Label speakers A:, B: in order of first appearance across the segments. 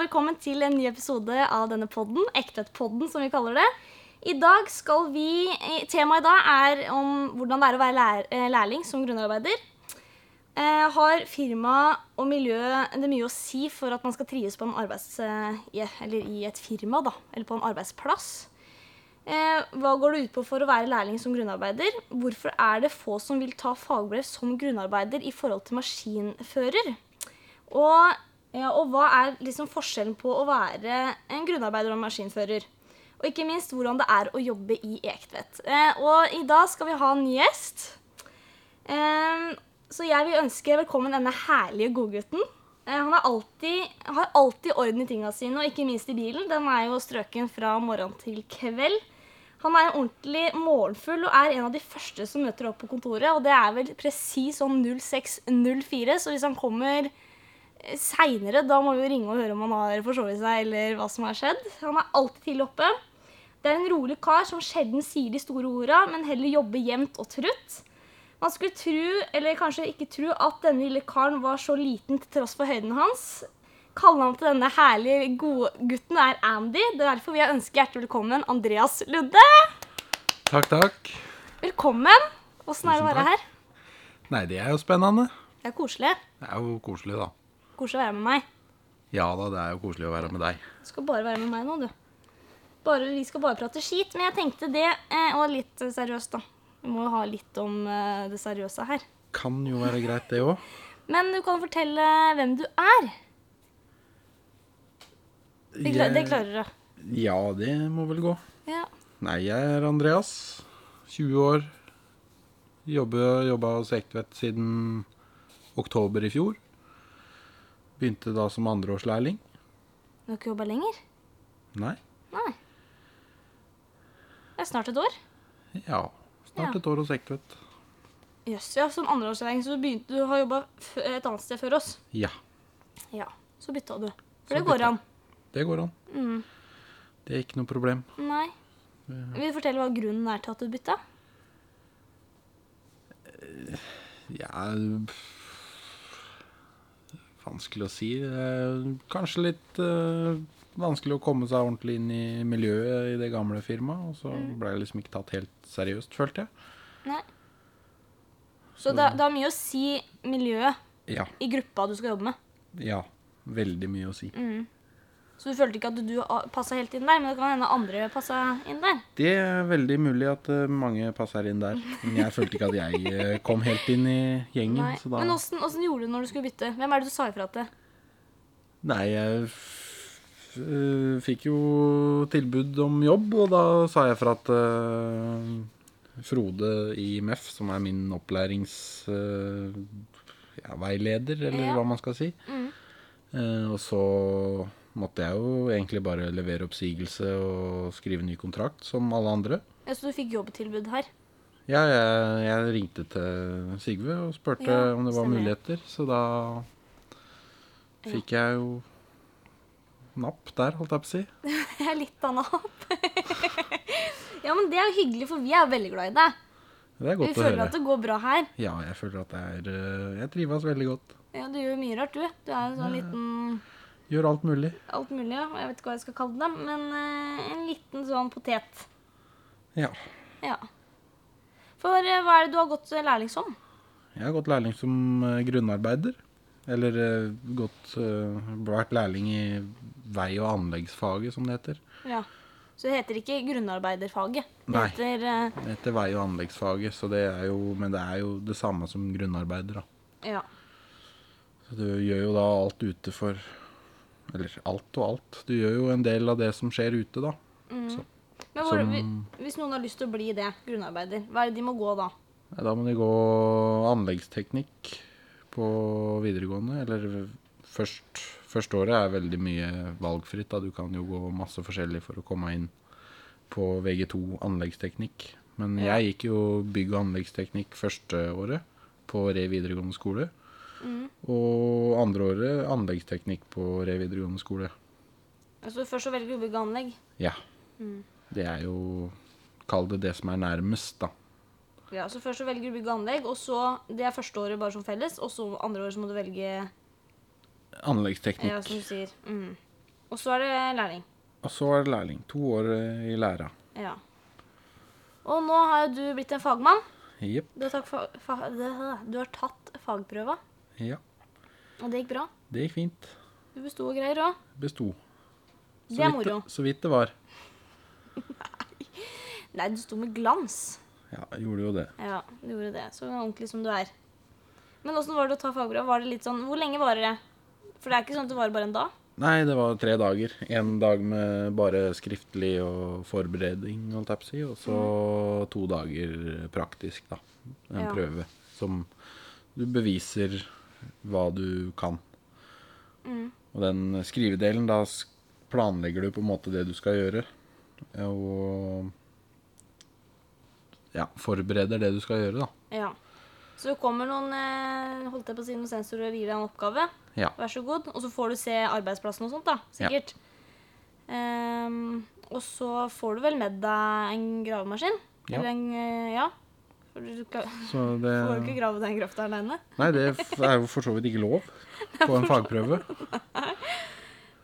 A: velkommen til en ny episode av denne podden, Ektetpodden som vi kaller det. I dag skal vi, eh, Temaet i dag er om hvordan det er å være lær, eh, lærling som grunnarbeider. Eh, har firma og miljø det mye å si for at man skal trives på en arbeids, eh, i- eller i et firma, da, eller på en arbeidsplass? Eh, hva går det ut på for å være lærling som grunnarbeider? Hvorfor er det få som vil ta fagbrev som grunnarbeider i forhold til maskinfører? Og, ja, og hva er liksom forskjellen på å være en grunnarbeider og en maskinfører? Og ikke minst hvordan det er å jobbe i Ektvedt. Eh, og i dag skal vi ha en ny gjest. Eh, så jeg vil ønske velkommen denne herlige godgutten. Eh, han er alltid, har alltid orden i tinga sine, og ikke minst i bilen. Den er jo strøken fra morgen til kveld. Han er jo ordentlig morgenfull og er en av de første som møter opp på kontoret. Og det er vel presis sånn 06.04, så hvis han kommer seinere. Da må vi jo ringe og høre om han har forsovet seg, eller hva som har skjedd. Han er alltid tidlig oppe. Det er en rolig kar som sjelden sier de store orda, men heller jobber jevnt og trutt. Man skulle tro, eller kanskje ikke tro, at denne lille karen var så liten til tross for høyden hans. Kallenavnet til denne herlige godgutten er Andy. Det er derfor vil jeg ønske hjertelig velkommen Andreas Ludde.
B: Takk, takk.
A: Velkommen. Åssen er det å være
B: Tusen takk.
A: her?
B: Nei, det er jo spennende.
A: Det er koselig.
B: Det er jo koselig, da.
A: Koselig å være med meg.
B: Ja da, det er jo koselig å være med deg.
A: Du skal bare være med meg nå, du. Bare, vi skal bare prate skit. Men jeg tenkte det, eh, og litt eh, seriøst, da. Vi må jo ha litt om eh, det seriøse her.
B: Kan jo være greit, det òg.
A: Men du kan fortelle hvem du er. Det, kla- det klarer du.
B: Ja, det må vel gå.
A: Ja.
B: Nei, jeg er Andreas. 20 år. Jobbe, jobba hos Ektvedt siden oktober i fjor. Begynte da som andreårslærling.
A: Du har ikke jobba lenger?
B: Nei.
A: Nei. Det er snart et år.
B: Ja. Snart
A: Ja.
B: et år hos Ektvedt.
A: Jøss, ja. Som andreårslærling så du begynte du har jobba f- et annet sted før oss.
B: Ja.
A: Ja. Så bytta du.
B: Så
A: For det går
B: bytta.
A: an.
B: Det går an.
A: Mm.
B: Det er ikke noe problem.
A: Nei. Vil du fortelle hva grunnen er til at du bytta?
B: Ja pff, Vanskelig å si. Eh, Kanskje litt eh, vanskelig å komme seg ordentlig inn i miljøet i det gamle firmaet. Og så
A: Mm.
B: ble jeg liksom ikke tatt helt seriøst, følte jeg.
A: Nei. Så det, det har mye å si miljøet
B: Ja.
A: i gruppa du skal jobbe med.
B: ja. Veldig mye å si.
A: Mm. Så du følte ikke at du passa helt inn der, men det kan hende andre passa inn der.
B: Det er veldig mulig at eh, mange passer inn der. Men jeg følte ikke at jeg eh, kom helt inn i gjengen.
A: Nei.
B: Mm, Så da
A: Men åssen åssen gjorde du når du skulle bytte? Hvem er det du sa ifra til?
B: Nei, jeg f- øh, fikk jo tilbud om jobb, og da sa jeg fra at øh, Frode i MEF, som er min opplæringsveileder, ja, veileder, eller
A: Ja.
B: hva man skal si
A: Mm.
B: Eh, Og så måtte jeg jo egentlig bare levere oppsigelse og skrive ny kontrakt, som alle andre.
A: Ja, så du fikk jobbtilbud her?
B: Ja, jeg, jeg ringte til Sigve og spurte
A: Ja,
B: om det var
A: stemmer.
B: muligheter, så da fikk jeg jo napp der, holdt jeg på å si.
A: Jeg er litt anna opp. ja, men det er jo hyggelig, for vi er jo veldig glad i deg.
B: Det er
A: Vi
B: godt å
A: føler
B: høre.
A: at det går bra her.
B: Ja, jeg føler at det er eh, Jeg trives veldig godt.
A: Ja, du gjør mye rart, du. Du er en sånn liten
B: Gjør alt mulig.
A: alt mulig, ja. jeg vet ikke hva jeg skal kalle dem, men eh, en liten sånn potet.
B: Ja.
A: Ja. For eh, hva er det du har gått eh, lærling som?
B: Jeg har gått lærling som eh, grunnarbeider. Eller eh, gått eh, vært lærling i vei- og anleggsfaget, som det heter.
A: Ja. Så det heter ikke grunnarbeiderfaget. Det
B: Nei.
A: heter eh,
B: Det heter vei- og anleggsfaget, så det er jo, men det er jo det samme som grunnarbeider. da.
A: Ja.
B: Så du gjør jo da alt ute for Eller alt og alt. Du gjør jo en del av det som skjer ute, da. Så,
A: Men hvor,
B: Som-
A: hvi- hvis noen har lyst til å bli det, grunnarbeider, hva er det de må gå da?
B: Nei, da må de gå anleggsteknikk på videregående. Eller først, første året er veldig mye valgfritt. Da. Du kan jo gå masse forskjellig for å komme inn på VG2 anleggsteknikk. Men
A: Ja.
B: jeg gikk jo bygg- og anleggsteknikk første året på Re videregående skole. Og andre året anleggsteknikk på Re videregående skole.
A: Altså Først så velger du bygg og anlegg.
B: Ja.
A: Mm.
B: Det er jo Kall det det som er nærmest, da.
A: Ja, så Først så velger du bygg og anlegg, og så det er første året bare som felles, og så andre året så må du velge eh,
B: Anleggsteknikk.
A: altså. ja, som du sier. Mm. Og så er det lærling.
B: Og så er det lærling. To år eh, i læra.
A: Ja. Og nå har jo du blitt en fagmann.
B: Jepp.
A: Du har tatt, fa fa du har tatt fagprøva,
B: Ja.
A: og det gikk bra.
B: Det gikk fint.
A: Du besto og greier òg.
B: Besto. Så
A: Det er
B: vidt
A: moro.
B: Så vidt det var.
A: Nei, du sto med glans.
B: Ja, jeg gjorde jo det.
A: Ja, du gjorde det. Så ordentlig som du er. Men åssen var det å ta fagbrev? Var det litt sånn, Hvor lenge varer det? For det er ikke sånn at det varer bare en dag.
B: Nei, det var tre dager. En dag med bare skriftlig og forberedning, holdt jeg på å si. Og så to dager praktisk, da. En
A: Mm. Ja.
B: prøve som du beviser hva du kan.
A: Mm.
B: Og den skrivedelen, da s- planlegger du på en måte det du skal gjøre. Og ja, forbereder det du skal gjøre, da.
A: Ja. Så det kommer noen eh, holdt jeg på å si, noen sensorer og gir deg en oppgave.
B: Ja.
A: Vær så god. Og så får du se arbeidsplassen og sånt, da.
B: Ja.
A: Sikkert. Ehm, og så får du vel med deg en gravemaskin?
B: Ja.
A: Eller en eh, Ja. For du skal,
B: Så det
A: får jo ikke grave den grøfta aleine.
B: Nei, det f- er jo for så vidt ikke lov på en fagprøve.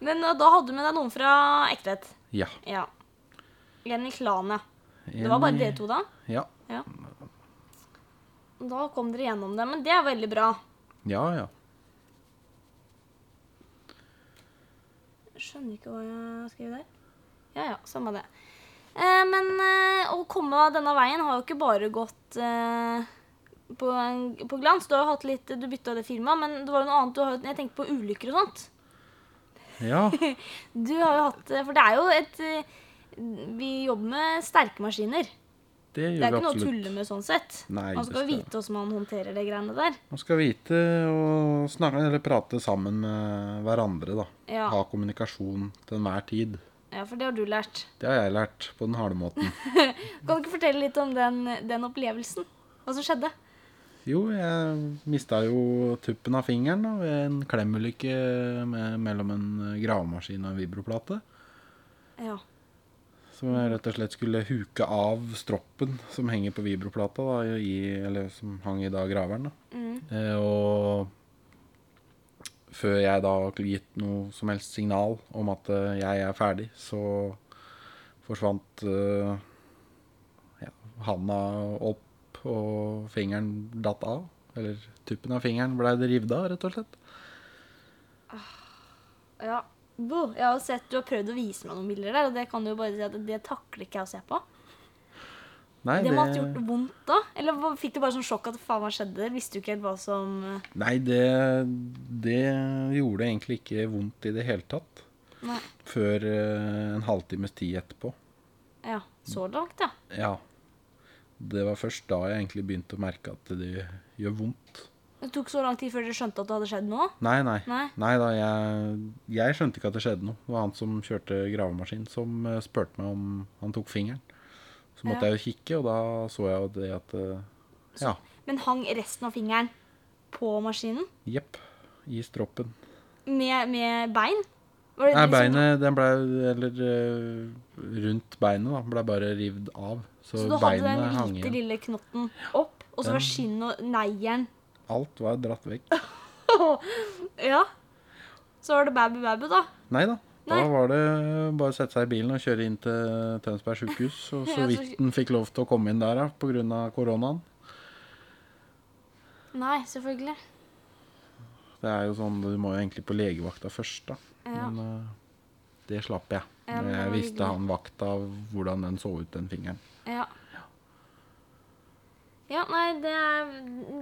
A: Men eh, da hadde du med deg noen fra Ektvedt.
B: Ja.
A: Ja. En i klanet. Det var bare
B: En-
A: dere to da?
B: Ja.
A: Ja. Da kom dere gjennom det, men det er veldig bra.
B: Ja, ja.
A: Skjønner ikke hva jeg skriver der. Ja ja, samme det. Eh, men eh, å komme denne veien har jo ikke bare gått eh, på, en- på glans. Du har jo hatt litt Du bytta det firmaet, men det var jo noe annet. Du har, jo- jeg tenkte på ulykker og sånt.
B: Ja,
A: Du har jo hatt eh, For det er jo et eh, Vi jobber med sterke maskiner.
B: det
A: Det er
B: gjør vi
A: ikke noe å
B: absolutt.
A: tulle med sånn sett.
B: Nei,
A: man skal jo
B: det
A: vite hvordan man håndterer de greiene der.
B: Man skal vite og snakke eller prate sammen med hverandre, da.
A: Ja.
B: Ha kommunikasjon til enhver tid.
A: Ja, for det har du lært.
B: Det har jeg lært på den harde måten.
A: Kan du ikke fortelle litt om den, den opplevelsen? Hva som skjedde?
B: Jo, jeg mista jo tuppen av fingeren da, ved en klemulykke med, mellom en gravemaskin og en vibroplate.
A: Ja.
B: Som jeg rett og slett skulle huke av stroppen som henger på vibroplata, da, i, eller som hang i da graveren. Da.
A: Mm.
B: Eh, og før jeg da kunne gitt noe som helst signal om at eh, jeg er ferdig, så forsvant eh, ja, handa opp, og fingeren datt av. Eller tuppen av fingeren blei det revet av, rett og slett.
A: ja. Bo, jeg har sett du har prøvd å vise meg noen bilder der, og det kan du jo bare si at det takler ikke jeg å se på.
B: Nei,
A: Det må ha gjort vondt da? Eller hva- fikk du bare sånn sjokk at faen, hva skjedde? Visste du ikke helt hva som eh,
B: Nei, det, det gjorde egentlig ikke vondt i det hele tatt.
A: Nei.
B: Før eh, en halvtimes tid etterpå.
A: Ja. Så langt, ja.
B: Ja. Det var først da jeg egentlig begynte å merke at det gjør vondt.
A: Det tok så lang tid før dere skjønte at det hadde skjedd noe?
B: Nei, nei.
A: Nei.
B: da, jeg, jeg skjønte ikke at det skjedde noe. Det var han som kjørte gravemaskin, som eh, spurte meg om han tok fingeren. Så måtte
A: Ja.
B: jeg jo kikke, og da så jeg jo det at eh, Ja,
A: Men hang resten av fingeren på maskinen?
B: jepp. I stroppen.
A: Med, med bein? Var det
B: Nei,
A: liksom-
B: beinet den ble, Eller eh, rundt beinet, da. Ble bare rivd av. Så,
A: Så du hadde
B: beinet
A: den
B: hang
A: lite,
B: igjen.
A: lille knotten opp, og så var skinnet og neieren
B: Alt var dratt vekk.
A: Ja. Så var det baby-baby, da.
B: Nei da. Da
A: Nei.
B: var det bare å sette seg i bilen og kjøre inn til Tønsberg sjukehus. Og
A: Ja, så-
B: så vidt den fikk lov til å komme inn der da, på grunn av koronaen.
A: Nei, selvfølgelig.
B: Det er jo sånn, Du må jo egentlig på legevakta først, da.
A: Ja.
B: Men eh, det slapp jeg.
A: Ja,
B: Når
A: men det
B: jeg
A: var hyggelig.
B: visste han vakta hvordan den så ut, den fingeren.
A: Ja. Ja, nei, det, er-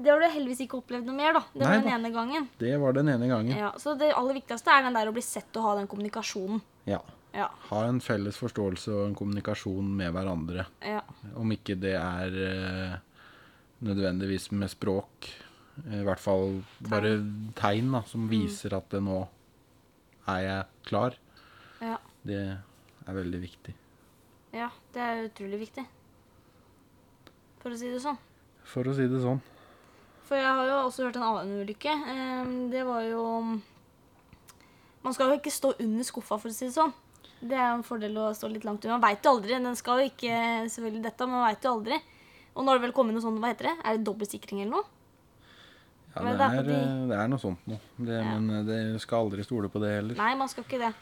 A: det har du heldigvis ikke opplevd noe mer, da. Det var
B: Nei
A: den
B: da.
A: ene gangen.
B: Det var den ene gangen.
A: Ja, så det aller viktigste er den der å bli sett og ha den kommunikasjonen.
B: Ja.
A: Ja.
B: Ha en felles forståelse og en kommunikasjon med hverandre.
A: ja.
B: Om ikke det er eh, nødvendigvis med språk. I hvert fall bare tegn da,
A: Mm.
B: som viser at det nå er jeg klar.
A: ja.
B: Det er veldig viktig.
A: Ja, det er utrolig viktig. For å si det sånn.
B: For å si det sånn.
A: For jeg har jo også hørt en annen ulykke. Ehm, Det var jo Man skal jo ikke stå under skuffa, for å si det sånn. Det er jo en fordel å stå litt langt unna. Man veit jo aldri. Den skal jo ikke selvfølgelig dette, men man veit jo aldri. Og nå har det vel kommet noe sånt, hva heter det? Er det dobbeltsikring eller noe?
B: Ja,
A: Men
B: det
A: det er
B: er,
A: fordi-
B: eh, det er noe sånt noe. Det, Men eh, det skal aldri stole på det heller.
A: Nei, man skal ikke det.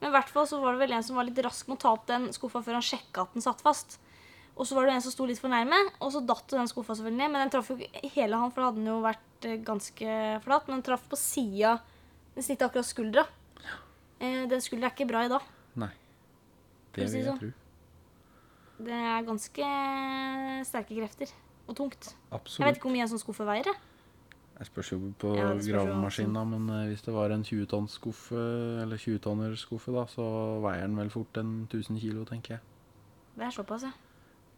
A: Men i hvert fall så var det vel en som var litt rask med å ta opp den skuffa før han sjekka at den satt fast. Og så var det en som sto litt for nærme, og så datt jo den skuffa selvfølgelig ned. Men den traff jo ikke hele han, for da hadde den jo vært eh, ganske flat. Men den traff på sida. Den snittet akkurat skuldra. Eh, den skuldra er ikke bra i dag.
B: Nei.
A: Skal
B: Det
A: vi si
B: vil jeg
A: sånn?
B: tro.
A: Det er ganske eh, sterke krefter. Og tungt. Jeg vet
B: Absolutt.
A: ikke hvor mye en sånn skuffe veier. jeg.
B: Jeg spørs jo på
A: Ja, det spørs jo sånn.
B: gravemaskin, da, men eh, hvis det var en 20-tonnsskuffe, eller 20-tonnerskuffe, da, så veier den vel fort en 1000 kilo, tenker jeg.
A: Det er såpass, ja.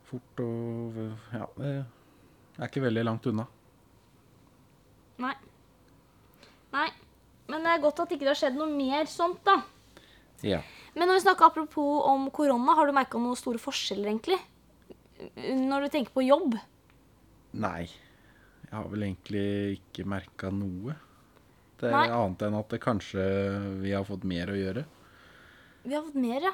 B: Fort og Ja, det er ikke veldig langt unna.
A: Nei. Nei. Men det er godt at ikke det har skjedd noe mer sånt, da.
B: Ja.
A: Men når vi snakker apropos om korona, har du merka noen store forskjeller, egentlig? Når du tenker på jobb?
B: Nei. Jeg har vel egentlig ikke merka noe. Det
A: Nei.
B: er annet enn at det kanskje vi har fått mer å gjøre.
A: Vi har fått mer, ja.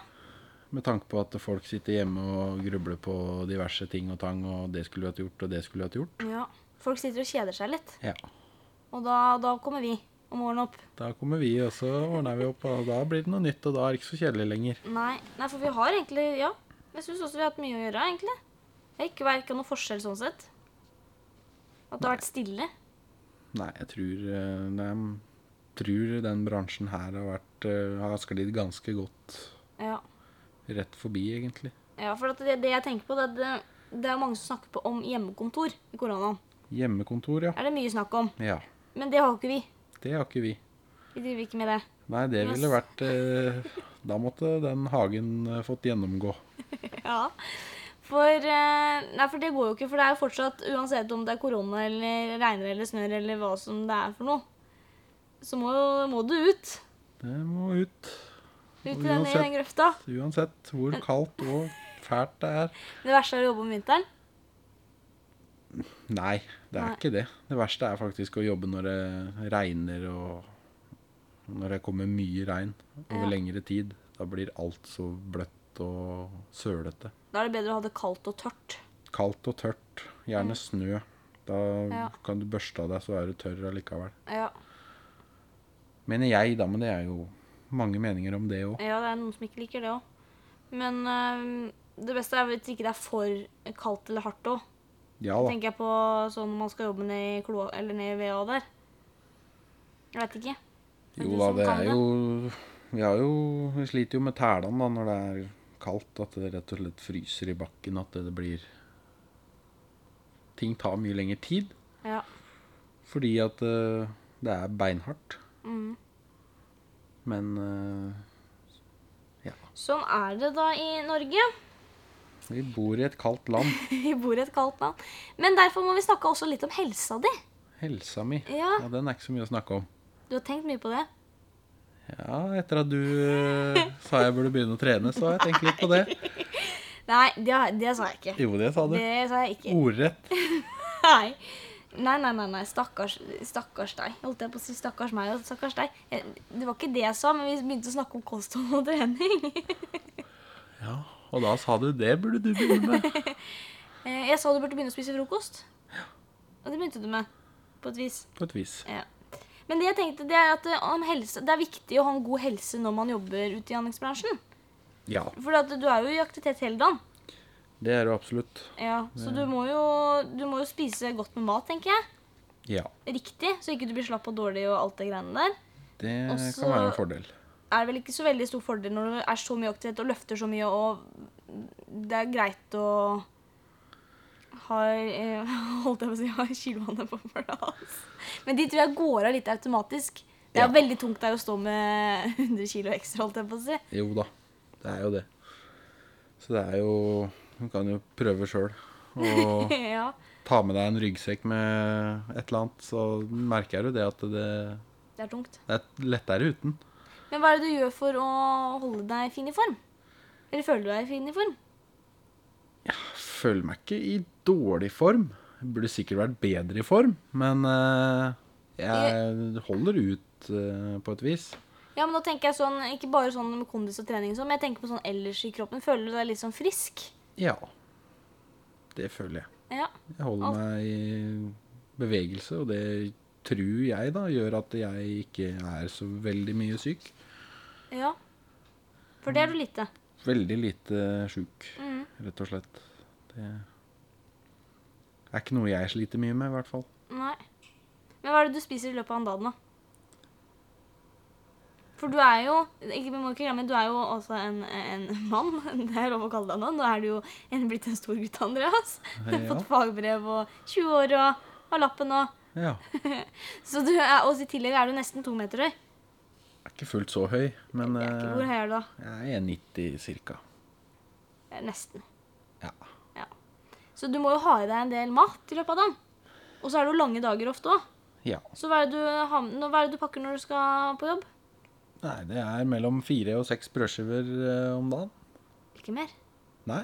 B: Med tanke på at folk sitter hjemme og grubler på diverse ting og tang, og det skulle vi hatt gjort, og det skulle vi hatt gjort.
A: ja. Folk sitter og kjeder seg litt.
B: Ja.
A: Og da, da kommer vi om morgenen opp.
B: Da kommer vi, og så ordner vi opp, og da blir det noe nytt, og da er det ikke så kjedelig lenger.
A: Nei, Nei for vi har egentlig Ja. Jeg syns også vi har hatt mye å gjøre, egentlig. Det har ikke vært noen forskjell sånn sett. At det har vært stille.
B: Nei, jeg tror, eh, nei, jeg tror den bransjen her har, vært, eh, har sklidd ganske godt
A: Ja.
B: rett forbi, egentlig.
A: ja for at det, det jeg tenker på, det er at det, det er mange som snakker på om hjemmekontor i koronaen.
B: Hjemmekontor, ja.
A: Er det mye snakk om.
B: Ja,
A: Men det har jo ikke vi.
B: det har ikke vi.
A: Vi driver ikke med det.
B: Nei, det
A: Yes.
B: ville vært eh, Da måtte den hagen eh, fått gjennomgå.
A: Ja, for, eh, nei, for det går jo ikke, for det er jo fortsatt, uansett om det er korona eller regner eller snør eller hva som det er for noe, så må, jo- må du ut.
B: Det må ut.
A: Ut i den, i den
B: Uansett.
A: grøfta.
B: Uansett hvor kaldt og fælt det er.
A: Det verste er å jobbe om vinteren.
B: Nei, det er
A: Nei.
B: ikke det. Det verste er faktisk å jobbe når det regner og når det kommer mye regn over
A: Ja.
B: lengre tid. Da blir alt så bløtt og sølete.
A: Da er det bedre å ha det kaldt og tørt.
B: Kaldt og tørt. Gjerne snø. Da
A: Mm. Ja.
B: kan du børste av deg, så er du tørr allikevel.
A: Ja,
B: Mener jeg, da. Men det er jo mange meninger om det òg.
A: ja det er noen som ikke liker det også. Men eh, det beste er hvis ikke det er for kaldt eller hardt også.
B: Ja da.
A: Tenker jeg på sånn når man skal jobbe ned i, kloa, eller ned i VA der. Jeg vet ikke. Men
B: Jo
A: du
B: da,
A: som
B: det
A: kan
B: er
A: det.
B: jo Vi har jo Vi sliter jo med tælene da når det er kaldt. At det rett og slett fryser i bakken. At det blir Ting tar mye lengre tid
A: Ja.
B: fordi at eh, det er beinhardt.
A: Mhm.
B: Men eh,
A: Sånn er det da i Norge.
B: eh, vi bor i et kaldt land.
A: Vi bor i et kaldt land. Men derfor må vi snakke også litt om helsa di.
B: Helsa mi,
A: Ja.
B: ja, den er ikke så mye å snakke om.
A: Du har tenkt mye på det.
B: Ja, etter at du eh, sa jeg burde begynne å trene, så har jeg tenkt litt på det.
A: Nei, det, har- det sa jeg ikke.
B: Jo, det Oh. sa du.
A: Det sa jeg ikke.
B: Ordrett.
A: Nei. Nei, nei, nei, nei. Stakkars, stakkars deg. Holdt jeg på å si stakkars meg og stakkars deg. Eh, Det var ikke det jeg sa, men vi begynte å snakke om kosthold og trening.
B: Ja, og da sa du det burde du begynne med.
A: Eh, Jeg sa du burde begynne å spise frokost. Og det begynte du med. På et vis.
B: På et vis.
A: Ja. Men det jeg tenkte, det er at eh, om helse, det er viktig å ha en god helse når man jobber ute i anleggsbransjen.
B: Ja,
A: For at du er jo i aktivitet hele dagen.
B: det er det absolutt.
A: Ja, så du må, jo, du må jo spise godt med mat, tenker jeg.
B: Ja,
A: Riktig, så ikke du blir slapp og dårlig og alt det greiene der.
B: det
A: Og så-
B: kan være en fordel.
A: Er det vel ikke så veldig stor fordel når du er så mye aktivitet og løfter så mye, og det er greit å ha eh, Holdt jeg på å si ha kiloene på plass. Men de tror jeg går av litt automatisk. Det er
B: Ja.
A: veldig tungt der å stå med 100 kilo ekstra, holdt jeg på å si.
B: Jo da, det er jo det. Så det er jo Du kan jo prøve sjøl. Og
A: ja.
B: ta med deg en ryggsekk med et eller annet, så merker du det at det,
A: Det er tungt.
B: det er lettere uten.
A: Men hva er det du gjør for å holde deg fin i form? Eller føler du deg fin i form?
B: Føler meg ikke i dårlig form. Jeg Burde sikkert vært bedre i form, men eh, jeg holder ut eh, på et vis.
A: Ja, men nå tenker jeg sånn, Ikke bare sånn med kondis og trening, og sånn, men jeg tenker på sånn ellers i kroppen. Føler du deg litt sånn frisk?
B: Ja. Det føler jeg.
A: Ja.
B: Jeg holder
A: Alt.
B: meg i bevegelse, og det tror jeg da gjør at jeg ikke er så veldig mye syk.
A: ja. For
B: Mm.
A: det er du lite.
B: Veldig lite sjuk, rett og slett. Det er ikke noe jeg sliter mye med, i hvert fall.
A: Nei. Men hva er det du spiser i løpet av en dag, da? For du er jo ikke, Vi må ikke glemme, du er jo også en, en mann. Det er lov å kalle deg nå. Nå er du jo en, blitt en stor gutt, Andreas. Du har
B: Ja.
A: fått fagbrev og 20 år og har lappen og
B: Ja.
A: Så du er, Og i tillegg er du nesten to meter høy.
B: Jeg er ikke fullt så høy, men
A: Det er ikke- Hvor
B: eh,
A: høy er du, da?
B: jeg er 90 ca.
A: Eh, Nesten.
B: Ja.
A: Ja. Så du må jo ha i deg en del mat i løpet av dagen. Og så er det jo lange dager ofte òg.
B: ja.
A: Så hva er, det du, har med- hva er det du pakker når du skal på jobb?
B: Nei, det er mellom fire og seks brødskiver eh, om dagen.
A: Ikke mer.
B: Nei.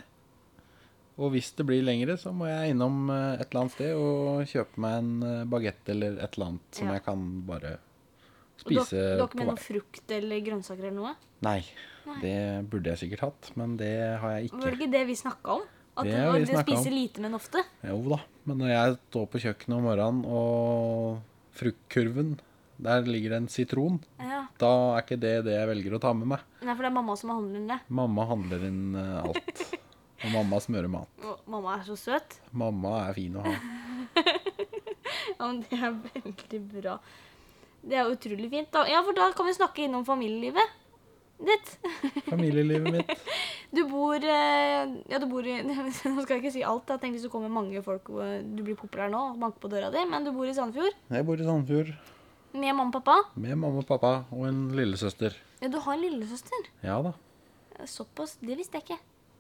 B: Og hvis det blir lengre, så må jeg innom eh, et eller annet sted og kjøpe meg en bagett eller et eller annet som
A: Ja.
B: jeg kan bare
A: Og du, har-
B: spise
A: du har ikke
B: på
A: med noe
B: vei.
A: frukt eller grønnsaker eller noe?
B: Nei, det burde jeg sikkert hatt, men det har jeg
A: Var det
B: ikke.
A: ikke det vi snakka om? At
B: Det
A: det
B: har
A: var
B: vi
A: det å
B: snakket om.
A: spise lite, men ofte?
B: Jo da, men når jeg står på kjøkkenet om morgenen og fruktkurven, der ligger det en sitron,
A: Ja.
B: da er ikke det det jeg velger å ta med meg.
A: Nei, for det er mamma som har handlet det.
B: Mamma handler inn eh, alt. Og mamma smører mat.
A: Og mamma er så søt.
B: Mamma er fin å ha.
A: Ja, men Det er veldig bra. Det er utrolig fint. da. Ja, for da kan vi snakke innom familielivet ditt.
B: Familielivet mitt.
A: Du bor eh, Ja, du bor i Nå skal jeg ikke si alt. da. Tenk hvis det kommer mange folk og du blir populær nå og banker på døra di, men du bor i Sandefjord
B: Jeg bor i Sandefjord
A: med mamma og pappa.
B: med mamma og pappa og en lillesøster.
A: Ja, du har en lillesøster.
B: Ja da.
A: Såpass. Det visste jeg ikke.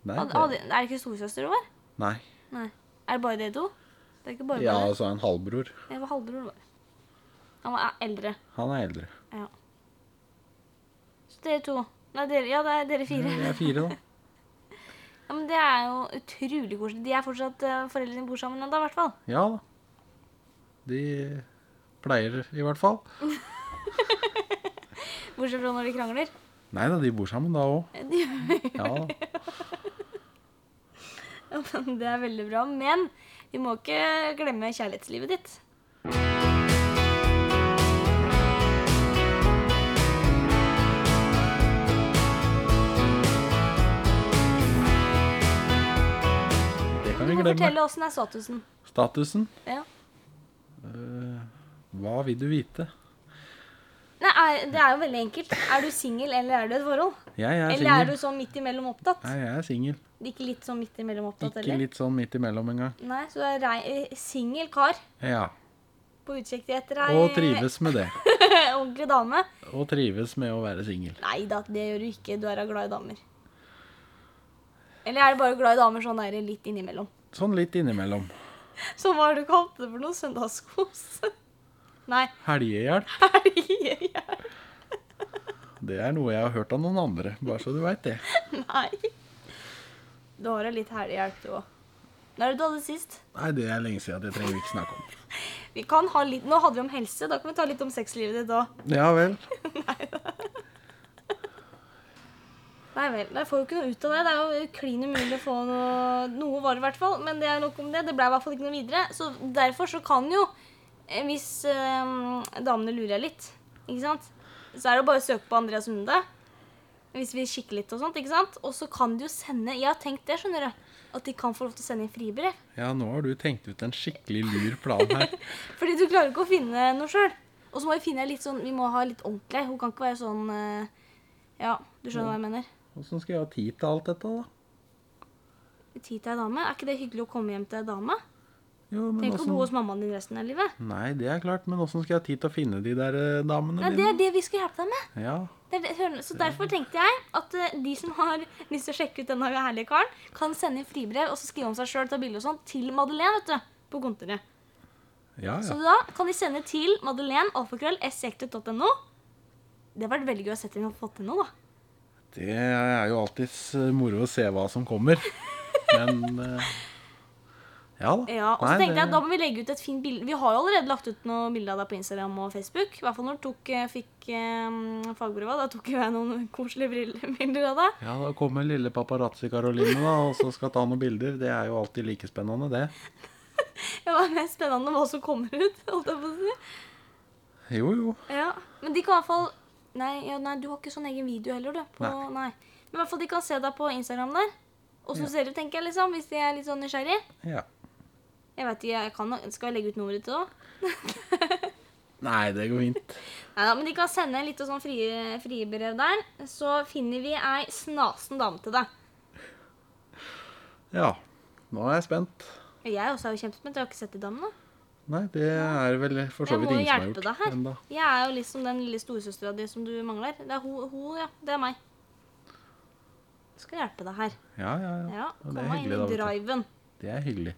B: Nei,
A: Hadde- hadde-
B: det,
A: Er det ikke storesøster du var?
B: nei.
A: Nei. Er det bare dere to? Det er ikke bare
B: Ja,
A: bare
B: og så en halvbror.
A: Jeg var halvbror bare. Han var e- eldre.
B: Han er eldre.
A: Ja. Så dere to. Nei, dere, ja, det er dere fire.
B: Jeg er fire, da.
A: Ja, men Det er jo utrolig koselig. De er fortsatt eh, foreldrene bor sammen ennå, i hvert fall.
B: Ja da. De pleier, i hvert fall.
A: Bortsett fra når de krangler.
B: Nei da, de bor sammen da òg.
A: Eh, De,
B: Ja da.
A: ja, men det er veldig bra. Men vi må ikke glemme kjærlighetslivet ditt.
B: Det
A: Du
B: kan vi
A: må
B: glemme.
A: fortelle åssen er statusen.
B: Statusen?
A: Ja.
B: Eh, hva vil du vite?
A: Nei, er, Det er jo veldig enkelt. Er du singel, eller er du i et forhold?
B: Jeg er
A: Eller er
B: singel.
A: du sånn midt imellom opptatt?
B: Nei, jeg er singel.
A: Ikke litt sånn midt imellom opptatt,
B: Ikke
A: eller?
B: litt sånn midt imellom engang.
A: Nei, så du er rei- eh, singel kar
B: Ja.
A: på utkikk etter ei
B: Og trives med det.
A: ordentlig dame.
B: Og trives med å være singel.
A: Nei da, det gjør du ikke. Du er da glad i damer. Eller er du bare glad i damer sånn der litt innimellom?
B: Sånn litt innimellom.
A: Så hva har du kalt det for noe? Søndagskos? Nei,
B: Helgehjelp.
A: helgehjelp?
B: Det er noe jeg har hørt av noen andre, bare så du veit det.
A: Nei. Du har jo litt helgehjelp, du òg. Når er det du hadde sist?
B: Nei, det er lenge siden. Det trenger vi ikke snakke om.
A: Vi kan ha litt, Nå hadde vi om helse, da kan vi ta litt om sexlivet ditt òg.
B: Ja vel.
A: Nei vel. Jeg får jo ikke noe ut av det. Det er jo klin umulig å få noe, noe var det i hvert fall. Men det er nok om det. Det ble i hvert fall ikke noe videre. Så derfor så kan jo, eh, hvis eh, damene lurer litt, ikke sant, så er det jo bare å søke på Andreas Hunde. Hvis vi kikker litt og sånt, ikke sant. Og så kan de jo sende Jeg har tenkt det, skjønner du. At de kan få lov til å sende inn fribrev.
B: Ja, nå har du tenkt ut en skikkelig lur plan her.
A: Fordi du klarer ikke å finne noe sjøl. Og så må vi finne litt sånn Vi må ha litt ordentlig. Hun kan ikke være sånn eh, Ja, du skjønner hva jeg mener.
B: Åssen skal jeg ha tid til alt dette, da?
A: Tid til ei dame. Er ikke det hyggelig å komme hjem til ei dame?
B: Jo, men
A: Tenk å bo
B: åssen
A: hos mammaen din resten av livet.
B: Nei, det er klart, men åssen skal jeg ha tid til å finne de der eh, damene
A: Nei, det
B: dine?
A: er det vi skal hjelpe deg med.
B: Ja.
A: Det er det, hør- så derfor tenkte jeg at eh, de som har lyst til å sjekke ut denne herlige karen, kan sende inn fribrev og så skrive om seg sjøl, ta bilde og sånn, til Madeleine vet du, på kontoret.
B: Ah, Ja,
A: Så
B: ja.
A: da kan de sende til madeleine.alfakrøll.sektet.no. Det hadde vært veldig gøy å sette inn og fått til noe, da.
B: Det er jo alltids eh, moro å se hva som kommer. Men eh, Ja da.
A: Ja, og så
B: Nei,
A: tenkte jeg
B: det-
A: at da må vi legge ut et fint bilde. Vi har jo allerede lagt ut noen bilder av deg på Instagram og Facebook. I hvert fall når du tok, eh, fikk eh, fagbrevet. Da tok jo jeg noen koselige briller- bilder av deg.
B: Ja, da kommer lille paparazzi Karoline da, og så skal ta noen bilder. Det er jo alltid like spennende, det.
A: Det var mest spennende hva som kommer ut. holdt jeg på å si.
B: Jo, jo.
A: Ja, Men de kan i hvert fall Nei, ja, nei du har ikke sånn egen video heller, du. På, nei. Men i hvert fall de kan se deg på Instagram der. Åssen du ser ut, tenker jeg, liksom, hvis de er litt sånn nysgjerrig.
B: Ja.
A: Jeg vet ikke, jeg kan, Skal jeg legge ut nummeret ditt òg?
B: Nei, det går fint.
A: Neida, men de kan sende litt sånn frie, frie brev der. Så finner vi ei snasen dame til deg.
B: Ja. Nå er jeg spent.
A: Jeg også er jo kjempespent. Jeg har ikke sett de damene.
B: Nei, det er vel for så
A: Jeg
B: vidt
A: må jo
B: ingen som har
A: hjelpe
B: gjort
A: deg her.
B: enda.
A: Jeg er jo liksom den lille storesøstera di som du mangler. Det er hun, hun, ja. Det er meg. Jeg skal hjelpe deg her.
B: Ja, ja, ja.
A: Ja,
B: Ja,
A: Kom
B: det er
A: meg inn
B: hyggelig,
A: i
B: da. vet
A: driven.
B: du. Det er hyggelig.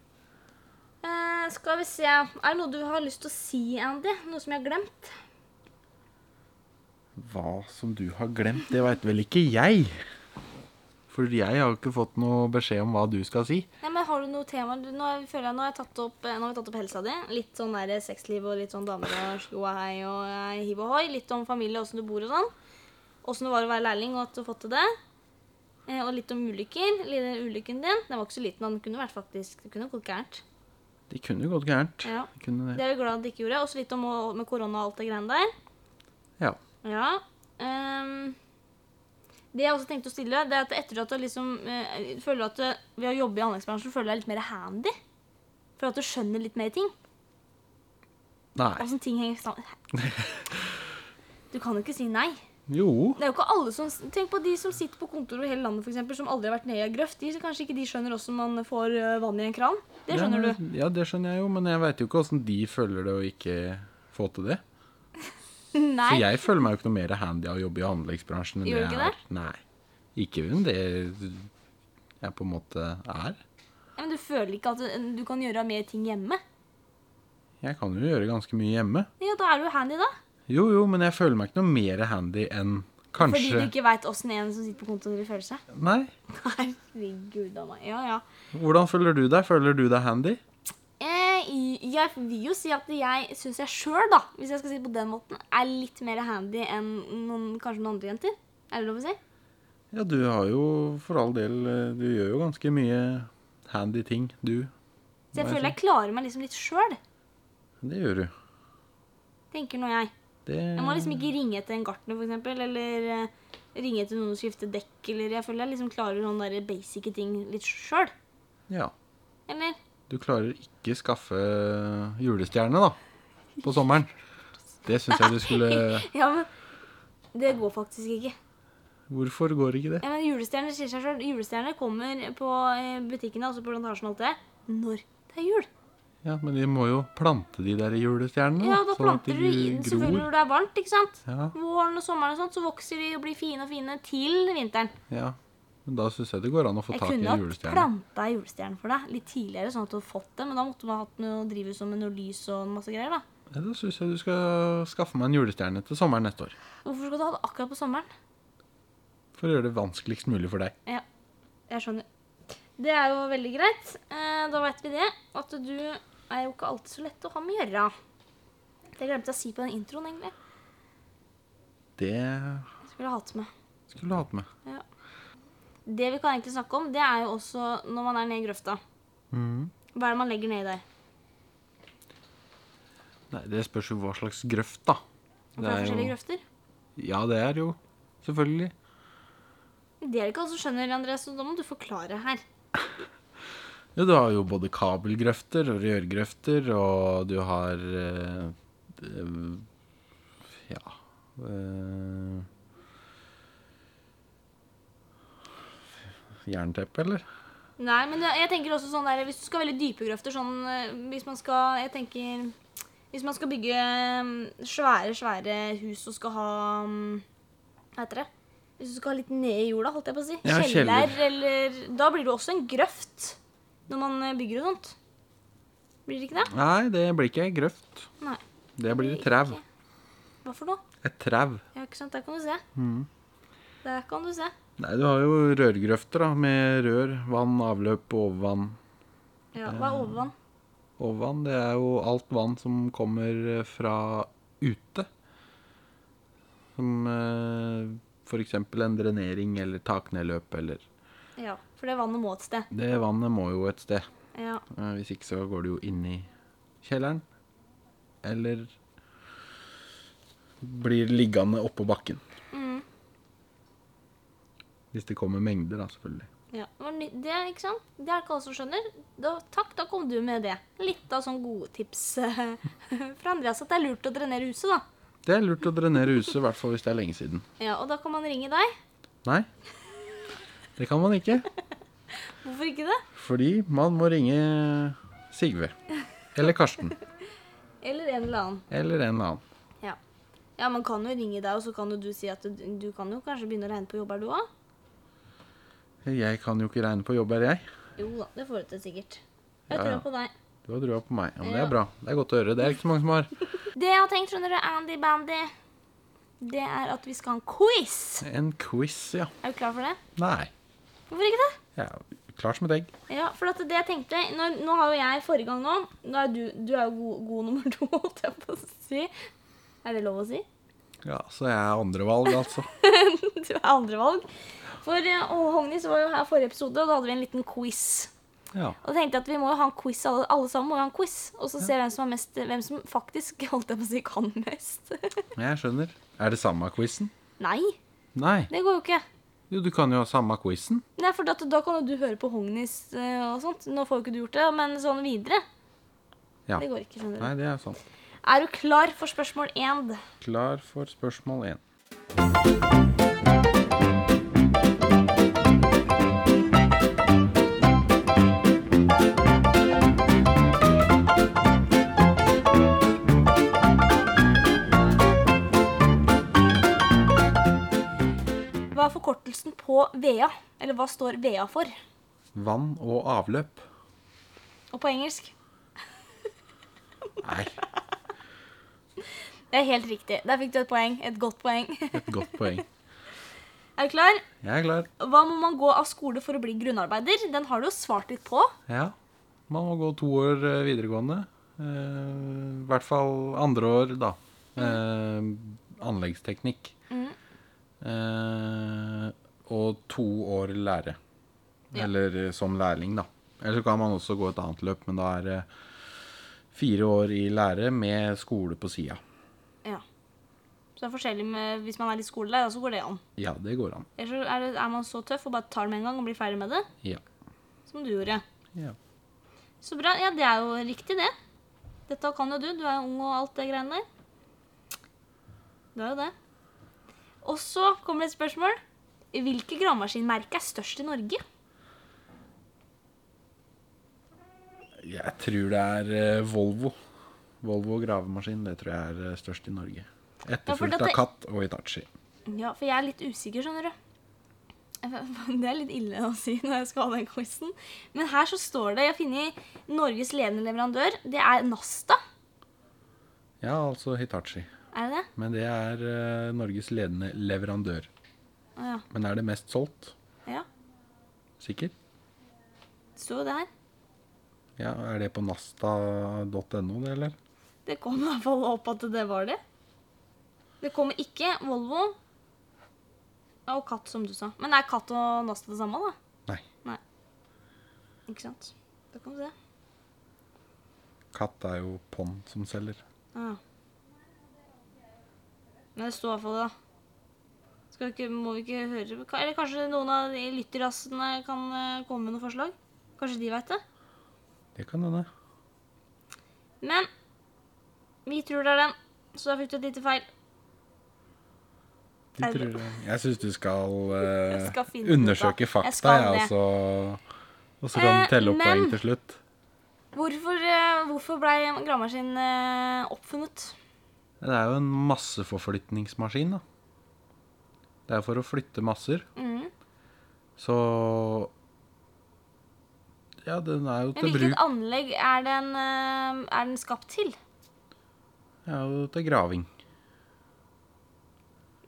A: Eh, skal vi se Er det noe du har lyst til å si, Andy? Noe som jeg har glemt?
B: Hva som du har glemt, det veit vel ikke jeg. For jeg har jo ikke fått noe beskjed om hva du skal si.
A: Nei, men Har du noe tema? Du, Nå føler jeg nå har, jeg tatt opp, eh, nå har vi tatt opp helsa di. Litt sånn der sexliv og litt sånn damer og sjo og hei og eh, hiv og hoi. Litt om familie, åssen du bor og sånn. Åssen det var å være lærling og at du har fått til det. Eh, og litt om ulykker. Lille ulykken din. Den var ikke så liten, den kunne vært faktisk Det kunne gått gærent.
B: Det kunne jo gått gærent.
A: Ja.
B: Det kunne
A: Det
B: det.
A: er vi glad det ikke gjorde. Også litt om å- med korona og alt det greiene der.
B: Ja.
A: Ja. ehm, det jeg også tenkte å stille, det er at etter at du liksom eh, føler at du, ved å jobbe i anleggsbransjen føler du deg litt mer handy. For at du skjønner litt mer ting.
B: Nei.
A: Åssen ting henger sammen. Du kan jo ikke si nei.
B: Jo.
A: Det er jo ikke alle som, Tenk på de som sitter på kontor i hele landet, for eksempel, som aldri har vært nede i ei grøft. De, så kanskje ikke de skjønner åssen man får eh, vann i en kran. Det skjønner
B: Ja,
A: du.
B: Ja, det skjønner jeg jo, men jeg veit jo ikke åssen de føler det å ikke få til det.
A: Nei.
B: For jeg føler meg jo ikke noe mer handy av å jobbe i anleggsbransjen enn
A: Gjør du
B: jeg
A: ikke
B: er. Nei. Ikke enn det jeg på en måte er.
A: Men du føler ikke at eh, du, du kan gjøre mer ting hjemme.
B: Jeg kan jo gjøre ganske mye hjemme.
A: Ja, da er du handy, da.
B: Jo, jo, men jeg føler meg ikke noe mer handy enn kanskje
A: Fordi du ikke veit åssen en som sitter på kontoret, føler seg.
B: Nei.
A: Herregud av meg. Ja, ja.
B: Hvordan føler du deg? Føler du deg handy?
A: Eh, jeg vil jo si at jeg syns jeg sjøl, da, hvis jeg skal si det på den måten, er litt mer handy enn noen, kanskje noen andre jenter. Er det lov å si?
B: Ja, du har jo for all del eh, Du gjør jo ganske mye handy ting, du.
A: Så jeg
B: Nei,
A: føler jeg klarer meg liksom litt sjøl,
B: Det gjør du.
A: tenker nå jeg.
B: Det
A: Jeg må liksom ikke ringe etter en gartner, for eksempel, eller eh, ringe etter noen og skifte dekk, eller jeg føler jeg liksom klarer sånne der basic ting litt sjøl.
B: Ja.
A: Eller?
B: Du klarer ikke skaffe eh, julestjerne, da. På sommeren. Det syns jeg du skulle
A: Ja, men det går faktisk ikke.
B: Hvorfor går ikke det?
A: Ja, men Julestjerner sier seg sjøl. Julestjerner kommer på eh, butikkene, altså på plantasjen og alt det, når det er jul.
B: Ja, Men de må jo plante de der julestjernene.
A: Ja, da
B: sånn at
A: planter du
B: de
A: i den
B: gror.
A: selvfølgelig når det er varmt. ikke sant?
B: Ja.
A: Våren og sommeren og sånt, så vokser de og blir fine og fine til vinteren.
B: Ja, men da syns jeg det går an å få
A: Jeg
B: tak i
A: kunne
B: en
A: hatt
B: julestjerne.
A: planta ei julestjerne for deg litt tidligere, sånn at du hadde fått det, men da måtte man hatt noe drivhus og med noe lys og masse greier. da.
B: Ja, da syns jeg du skal skaffe meg en julestjerne til sommeren neste år.
A: Hvorfor skal du ha det akkurat på sommeren?
B: For å gjøre det vanskeligst mulig for deg.
A: Ja, jeg skjønner. Det er jo veldig greit. Eh, da veit vi det. At du er jo ikke alltid så lett å ha med å gjøre. Det glemte jeg å si på den introen, egentlig.
B: Det
A: Jeg skulle hatt med.
B: skulle du hatt med.
A: Det vi kan egentlig snakke om, det er jo også når man er nede i grøfta.
B: Mhm.
A: Hva er det man legger nedi der?
B: Nei, det spørs jo hva slags grøft, da.
A: For det er
B: jo
A: forskjellige grøfter.
B: Ja, det er jo Selvfølgelig.
A: Det er det ikke alle som skjønner, Andreas, så da må du forklare her.
B: Jo, du har jo både kabelgrøfter og rørgrøfter, og du har eh, eh, Ja eh, Jernteppe, eller?
A: Nei, men det- jeg tenker også sånn der, hvis du skal veldig dype grøfter, sånn eh, hvis man skal Jeg tenker Hvis man skal bygge mm, svære, svære hus og skal ha mm, Hva heter det? Hvis du skal ha litt ned i jorda, holdt jeg på å si.
B: Ja, kjeller.
A: Kjeller eller Da blir det jo også en grøft når man eh, bygger og sånt. Blir det ikke det?
B: Nei, det blir ikke ei grøft.
A: Nei.
B: Det blir et trau.
A: Hva for noe?
B: Et Mm. trau.
A: Ja, ikke sant. Der kan du se. Der kan du se.
B: Nei, du har jo rørgrøfter da, med rør, vann, avløp og overvann.
A: Ja,
B: Eh.
A: Hva er overvann?
B: Overvann, det er jo alt vann som kommer eh, fra ute. Som eh, for eksempel en drenering eller taknedløp eller
A: Ja, for det vannet må et sted.
B: Det vannet må jo et sted.
A: Ja.
B: Eh, Hvis ikke så går det jo inn i kjelleren. Eller blir liggende oppå bakken. Hvis det kommer mengder, da, selvfølgelig.
A: Ja, men det, er ikke sant? det er det ikke alle som skjønner. Da, takk, da kom du med det. Litt av sånn gode tips eh, fra Andreas at det er lurt å drenere huset, da.
B: Det er lurt å drenere huset, i hvert fall hvis det er lenge siden.
A: Ja, Og da kan man ringe deg.
B: Nei, det kan man ikke.
A: Hvorfor ikke det?
B: Fordi man må ringe Sigve. Eller Karsten.
A: Eller en eller annen.
B: Eller en eller annen.
A: Ja. ja, man kan jo ringe deg, og så kan jo du si at du, du kan jo kanskje begynne å regne på jobber, du òg.
B: Jeg kan jo ikke regne på jobb, er jeg.
A: Jo da, det får du til sikkert. Jeg
B: Ja,
A: tror
B: ja.
A: på deg.
B: Du har trua på meg. Ja, men det er bra. Det er godt å høre. Det er ikke så mange som har.
A: Det jeg har tenkt, skjønner du, Andy Bandy, det er at vi skal ha en quiz.
B: En quiz, ja.
A: Er du klar for det?
B: Nei.
A: Hvorfor ikke det?
B: Jeg er klar som et egg.
A: Ja, for at det jeg tenkte Nå, nå har jo jeg forrige gang nå nå er du, du er jo god, god nummer to, holdt jeg på å si. Er det lov å si?
B: Ja, Så jeg er andrevalg, altså.
A: Du er andrevalg. For eh, og Hognis var jo her forrige episode, og da hadde vi en liten quiz.
B: Ja.
A: Og da tenkte jeg at vi må jo ha en quiz, alle, alle sammen må jo ha en quiz. Og så se hvem som, er mest, hvem som faktisk holdt jeg på å si, kan mest.
B: Jeg skjønner. Er det samme quizen?
A: Nei,
B: Nei.
A: det går jo ikke.
B: Jo, du kan jo ha samme quizen.
A: Nei, for da, da kan jo du høre på Hognis eh, og sånt. Nå får jo ikke du gjort det, men sånn videre.
B: Ja.
A: Det går ikke, skjønner du.
B: Nei, det er sant.
A: Er du klar for spørsmål én?
B: Klar for spørsmål én.
A: Hva er forkortelsen på VEA? Eller hva står VEA for?
B: Vann og avløp.
A: Og på engelsk?
B: Nei,
A: Det er helt riktig. Der fikk du et poeng. Et godt poeng.
B: et godt poeng.
A: er du klar?
B: Jeg er klar.
A: Hva må man gå av skole for å bli grunnarbeider? Den har du jo svart litt på.
B: Ja. Man må gå to år eh, videregående. Eh, I hvert fall andre år, da. Eh, anleggsteknikk. Eh, og to år lære.
A: Ja.
B: Eller eh, som lærling, da. Eller så kan man også gå et annet løp, men da er det fire år i lære med skole på sida.
A: Ja. Så det er forskjellig med hvis man er litt skolelærer, så går det an.
B: Ja, det går an.
A: Eller så er, det, er man så tøff og bare tar det med en gang og blir ferdig med det,
B: Ja.
A: som du gjorde.
B: ja.
A: Så bra. Ja, det er jo riktig, det. Dette kan jo du. Du er jo ung og alt det greiene der. Du er jo det. Og så kommer det et spørsmål. Hvilke gravemaskinmerke er størst i Norge?
B: Jeg tror det er eh, Volvo. Volvo gravemaskin, det tror jeg er eh, størst i Norge.
A: for
B: Etterfulgt
A: dette-
B: av Katt og Itachi.
A: Ja, for jeg er litt usikker, skjønner du. Det er litt ille å si når jeg skal ha den quizen. Men her så står det Jeg har funnet Norges ledende leverandør. Det er Nasta.
B: Ja, altså Hitachi.
A: Er det det?
B: Men det er eh, Norges ledende leverandør.
A: Å ja.
B: Men er det mest solgt?
A: ja.
B: Sikker?
A: Det sto jo det her.
B: Ja, Er det på nasta.no, det, eller?
A: Det kom i hvert fall opp at det var det. Det kommer ikke Volvo Ja, og katt, som du sa. Men er katt og Nasta det samme, da?
B: Nei.
A: Nei. Ikke sant? Da kan du se.
B: Katt er jo Pond som selger.
A: Ja. Men det står i hvert fall det, da. Skal vi ikke, må vi ikke høre Ka- Eller kanskje noen av de lytterassene kan eh, komme med noen forslag? Kanskje de veit det?
B: Det kan hende.
A: Men vi tror det er den, så da fikk du et lite feil.
B: De
A: Er det-
B: tror det. Jeg syns du skal, eh,
A: Jeg skal finne ut av-
B: undersøke
A: Jeg
B: fakta,
A: skal
B: jeg,
A: det.
B: altså. Og så kan
A: Eh,
B: du telle opp
A: men-
B: poeng til slutt.
A: Hvorfor, eh, hvorfor blei gravemaskin eh, oppfunnet?
B: Det er jo en masseforflytningsmaskin, da. Det er for å flytte masser.
A: Mm.
B: Så Ja, den er jo
A: Men
B: til
A: hvilket
B: bruk
A: anlegg er den, eh, er den skapt til?
B: Den er jo til graving.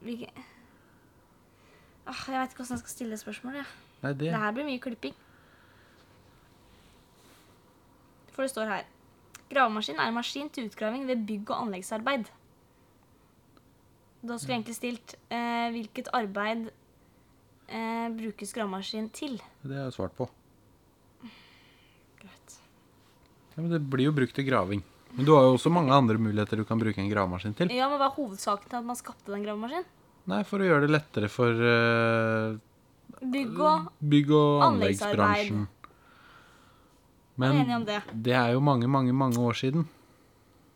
A: Hvilke... Ah, jeg veit ikke hvordan jeg skal stille spørsmålet. jeg.
B: Nei, det
A: Det her blir mye klipping. For det står her Gravemaskin er en maskin til utgraving ved bygg- og anleggsarbeid. Da skulle jeg egentlig stilt eh, hvilket arbeid eh, brukes gravemaskin til?
B: Det er jo svart på.
A: Greit.
B: Ja, men det blir jo brukt til graving. Men du har jo også mange andre muligheter du kan bruke en gravemaskin til.
A: Ja, men Hva er hovedsaken til at man skapte den gravemaskinen?
B: Nei, for å gjøre det lettere for eh,
A: Bygg og
B: Bygg- og
A: Anleggsarbeid.
B: anleggsbransjen. Men
A: enig om det.
B: det er jo mange, mange, mange år siden.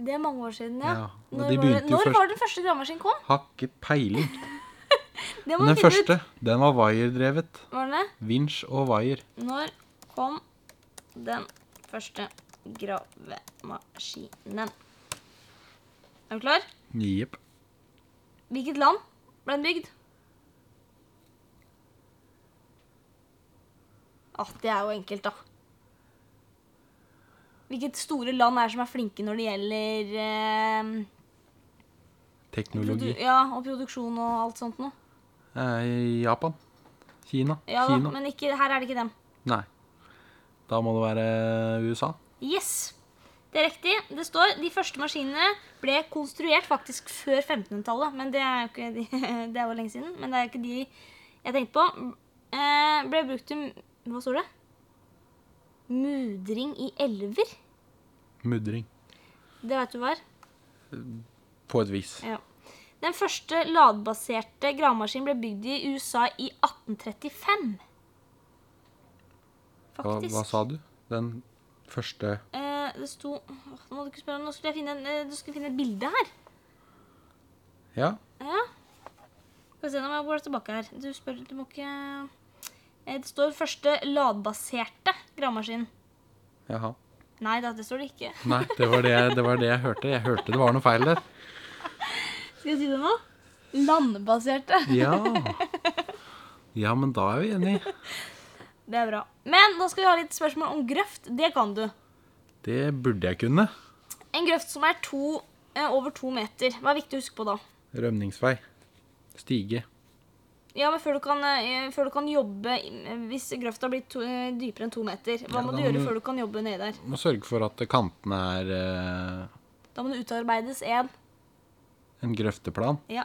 A: Det er mange år siden, ja.
B: Ja, og
A: når var
B: de
A: det,
B: begynte jo
A: når
B: først-
A: var den første gravemaskinen kom?
B: Har ikke peiling.
A: Det må
B: Men
A: vi
B: den
A: finne ut.
B: første, den var wiredrevet.
A: Var det?
B: Vinsj og wire.
A: Når kom den første gravemaskinen? Er du klar?
B: Jepp.
A: Hvilket land ble den bygd? Ah, det er jo enkelt, da. Hvilket store land er det som er flinke når det gjelder eh, produ
B: Teknologi.
A: ja, og produksjon og alt sånt noe?
B: Eh, Japan. Kina.
A: Ja da,
B: Kina.
A: men ikke, her er det ikke dem.
B: Nei. Da må det være USA.
A: Yes! Det er riktig. Det står de første maskinene ble konstruert faktisk før 1500-tallet. Men det er, jo ikke de, det er jo lenge siden. Men det er jo ikke de jeg tenkte på. Eh, ble brukt til Hva står det? Mudring i elver.
B: Mudring.
A: Det vet du hva er.
B: På et vis.
A: Ja. Den første ladbaserte gravemaskinen ble bygd i USA i 1835.
B: Hva,
A: Faktisk.
B: hva sa du? Den første
A: Eh, det sto Åh, Nå må du ikke spørre om Nå skulle jeg finne, en, eh, du skulle finne et bilde her.
B: Ja.
A: Ja. Skal vi se, nå må jeg gå tilbake her. Du spør, du må ikke Eh, Det står første ladbaserte gravemaskin.
B: Jaha.
A: Nei da, det står det ikke.
B: Nei, det var det, jeg- det var det jeg hørte. Jeg hørte det var noe feil der.
A: Skal jeg si det nå? Landbaserte.
B: Ja. Ja, men da er vi enige.
A: Det er bra. Men nå skal vi ha litt spørsmål om grøft. Det kan du.
B: Det burde jeg kunne.
A: En grøft som er to, eh, over to meter. Hva er viktig å huske på da?
B: Rømningsvei. Stige.
A: Ja, men før du kan, eh, før du kan jobbe i- Hvis grøfta blir to, eh, dypere enn to meter, hva
B: Ja,
A: må
B: da
A: du
B: må
A: gjøre
B: du-
A: før du kan jobbe nedi der?
B: Må sørge for at kantene er eh,
A: Da må det utarbeides en
B: en grøfteplan.
A: Ja.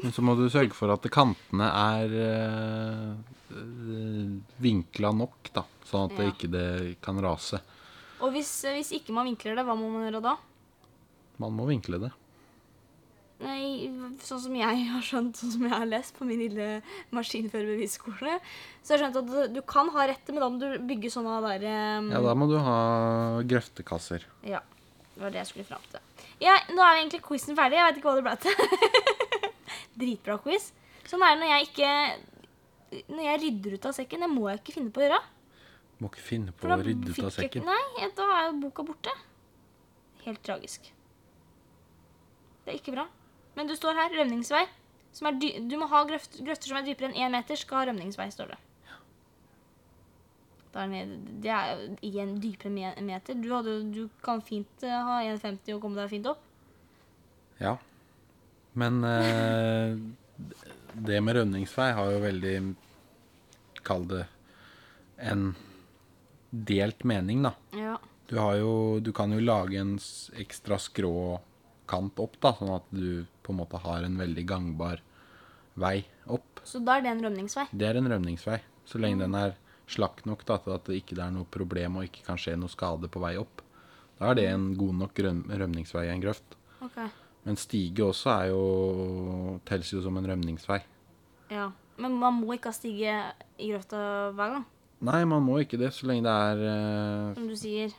B: Men så må du sørge for at kantene er eh, eh, vinkla nok, da. Sånn at det
A: Ja.
B: ikke det kan rase.
A: Og hvis, eh, hvis ikke man vinkler det, hva må man gjøre da?
B: Man må vinkle det.
A: Nei, sånn som jeg har skjønt, sånn som jeg har lest på min lille maskinførerbevisskole, så har jeg skjønt at du- du kan ha rett, men da må du bygge sånne der eh,
B: Ja, da må du ha grøftekasser.
A: ja, det var det jeg skulle fram til. Ja, nå er egentlig quizen ferdig. Jeg vet ikke hva det ble til. Dritbra quiz. Sånn er det når jeg ikke Når jeg rydder ut av sekken. Det må jeg ikke finne på å gjøre.
B: Må ikke finne på
A: for da
B: å rydde ut
A: fikk
B: av
A: jeg ikke-
B: sekken.
A: Nei, da er jo boka borte. Helt tragisk. Det er ikke bra. Men du står her, rømningsvei. Som er dy du må ha grøft grøfter som er dypere enn én meter, skal ha rømningsvei, står det. Da er den- Det er jo igjen dypere enn en meter. Du, hadde, jo- du kan fint eh, ha 1,50 og komme deg fint opp.
B: Ja. Men eh, det med rømningsvei har jo veldig Kall det en delt mening, da.
A: Ja.
B: Du, har jo, du kan jo lage en s- ekstra skrå kant opp, da, sånn at du på en måte har en veldig gangbar vei opp.
A: Så da er det en rømningsvei.
B: Det er en rømningsvei, så lenge den er slakk nok da, til at det ikke er noe problem og ikke kan skje noe skade på vei opp. Da er det en god nok røm rømningsvei i en grøft.
A: Ok.
B: Men stige også er jo telles jo som en rømningsvei.
A: Ja. Men man må ikke ha stige i grøfta hver gang,
B: Nei, man må ikke det så lenge det er eh,
A: som du sier.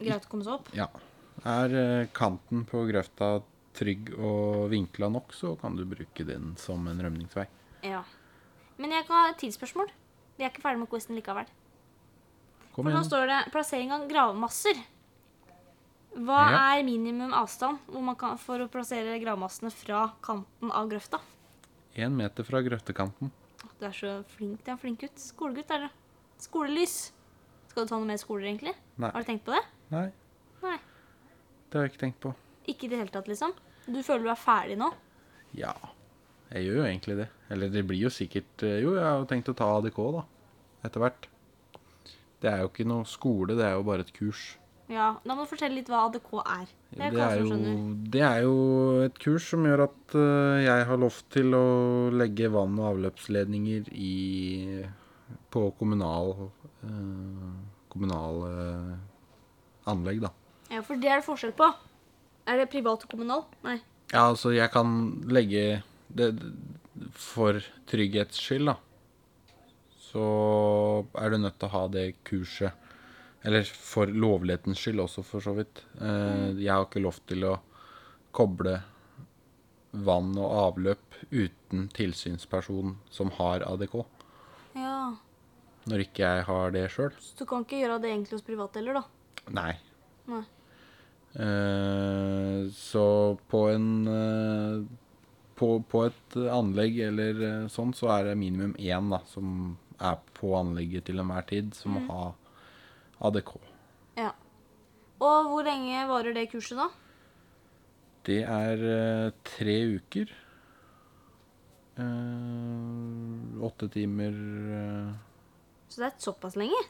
A: Greit å komme seg opp.
B: Ja. Er eh, kanten på grøfta trygg og vinkla nok, så kan du bruke den som en rømningsvei.
A: Ja. Men jeg kan ha et tidsspørsmål. Vi er ikke ferdig med quizen likevel.
B: Kom
A: For nå
B: igjen.
A: står det plassering av gravmasser. Hva
B: Ja.
A: er minimum avstand hvor man kan, for å plassere gravmassene fra kanten av grøfta?
B: Én meter fra grøftekanten.
A: Du er så flink. Du er en flink gutt. Skolegutt er du. Skolelys. Skal du ta noe mer skoler, egentlig?
B: Nei.
A: Har du tenkt på det?
B: Nei,
A: Nei.
B: det har jeg ikke tenkt på.
A: Ikke i det hele tatt, liksom? Du føler du er ferdig nå?
B: Ja, jeg gjør jo egentlig det. Eller det blir jo sikkert eh, Jo, jeg har jo tenkt å ta ADK, da. Etter hvert. Det er jo ikke noe skole, det er jo bare et kurs.
A: Ja. Da må du fortelle litt hva ADK er. Det er,
B: Det er,
A: jo...
B: jo,
A: skjønner.
B: det er jo et kurs som gjør at eh, jeg har lov til å legge vann- og avløpsledninger i, på kommunal, eh, kommunale anlegg, da.
A: Ja, for det er det forskjell på. Er det privat og kommunal? Nei.
B: Ja, altså jeg kan legge det For trygghets skyld, da. så er du nødt til å ha det kurset. Eller for lovlighetens skyld også, for så vidt. Eh, Jeg har ikke lov til å koble vann og avløp uten tilsynsperson som har ADK.
A: Ja.
B: Når ikke jeg har det sjøl.
A: Så du kan ikke gjøre det egentlig hos private heller, da.
B: Nei.
A: Nei.
B: Eh, så på en eh, på, på et anlegg eller eh, sånn, så er det minimum én da, som er på anlegget til enhver tid, som
A: Mm.
B: må ha ADK.
A: Ja. Og hvor lenge varer det kurset, da?
B: Det er eh, tre uker. Eh, åtte timer eh,
A: Så det er såpass lenge?